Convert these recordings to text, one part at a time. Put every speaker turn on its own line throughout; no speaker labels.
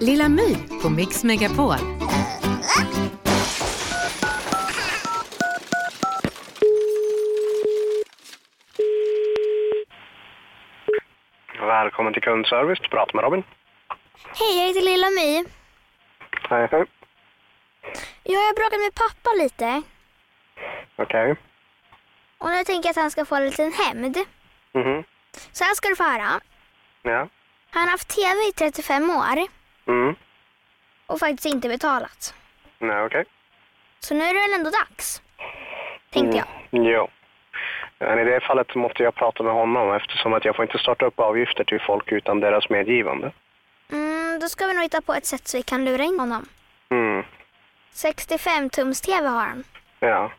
Lilla My på Mix Megapol.
Välkommen till kundservice. Du pratar med Robin.
Hej, jag heter Lilla My.
Hej, hej.
Jag har bråkat med pappa lite
Okej.
och nu tänker jag att han ska få en liten hämnd.
Mhm.
Så här ska du få höra.
Ja.
Han har haft tv i 35 år
Mm.
och faktiskt inte betalat.
Nej, okej.
Så nu är det väl ändå dags, tänkte jag.
Mm. Jo. Men i det fallet måste jag prata med honom eftersom att jag får inte starta upp avgifter till folk utan deras medgivande.
Mm, då ska vi nog hitta på ett sätt så vi kan lura in honom.
Mm.
65-tums-tv har han.
Ja.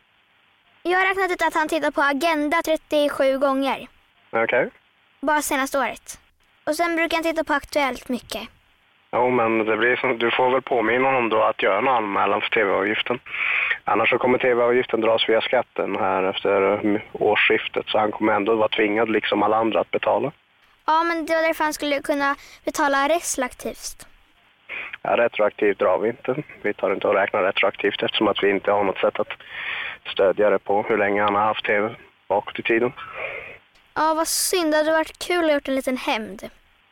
Jag har räknat ut att han tittar på Agenda 37 gånger,
Okej.
bara senaste året. Och sen brukar han titta på Aktuellt mycket.
Jo, men det blir som, du får väl påminna honom då att göra en anmälan för tv-avgiften. Annars så kommer tv-avgiften dras via skatten här efter mm, årsskiftet så han kommer ändå vara tvingad liksom alla andra att betala.
Ja, men det var därför han skulle kunna betala retroaktivt.
Ja, retroaktivt drar vi inte. Vi tar inte och räknar retroaktivt eftersom att vi inte har något sätt att stödja det på hur länge han har haft tv bakåt i tiden.
Ja, vad synd. Det hade varit kul att gjort en liten hämnd.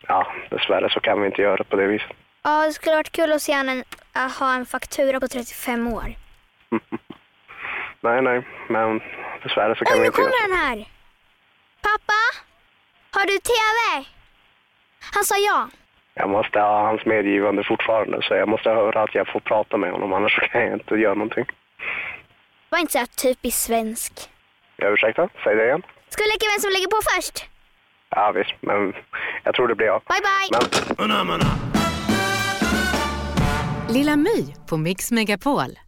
Ja, dessvärre så kan vi inte göra det på det viset.
Ja, det skulle varit kul att se han en, att ha en faktura på 35 år.
Nej, nej, men dessvärre så kan
Oj,
vi
nu
inte göra
kommer
det.
han här! Pappa! Har du TV? Han sa ja.
Jag måste ha hans medgivande fortfarande så jag måste höra att jag får prata med honom annars så kan jag inte göra någonting.
Var inte så här typiskt svensk.
Ja, Ursäkta, säg det igen.
Ska vi leka vem som lägger på först?
Ja visst, men jag tror det blir jag.
Bye, bye!
Men
Lilla My på Mix Megapol.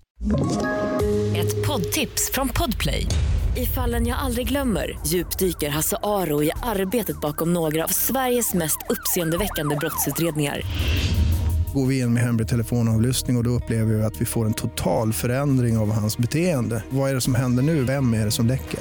Ett poddtips från Podplay. I fallen jag aldrig glömmer djupdyker Hasse Aro i arbetet bakom några av Sveriges mest uppseendeväckande brottsutredningar.
Går vi in med hemlig telefonavlyssning och, och då upplever vi att vi får en total förändring av hans beteende. Vad är det som händer nu? Vem är det som läcker?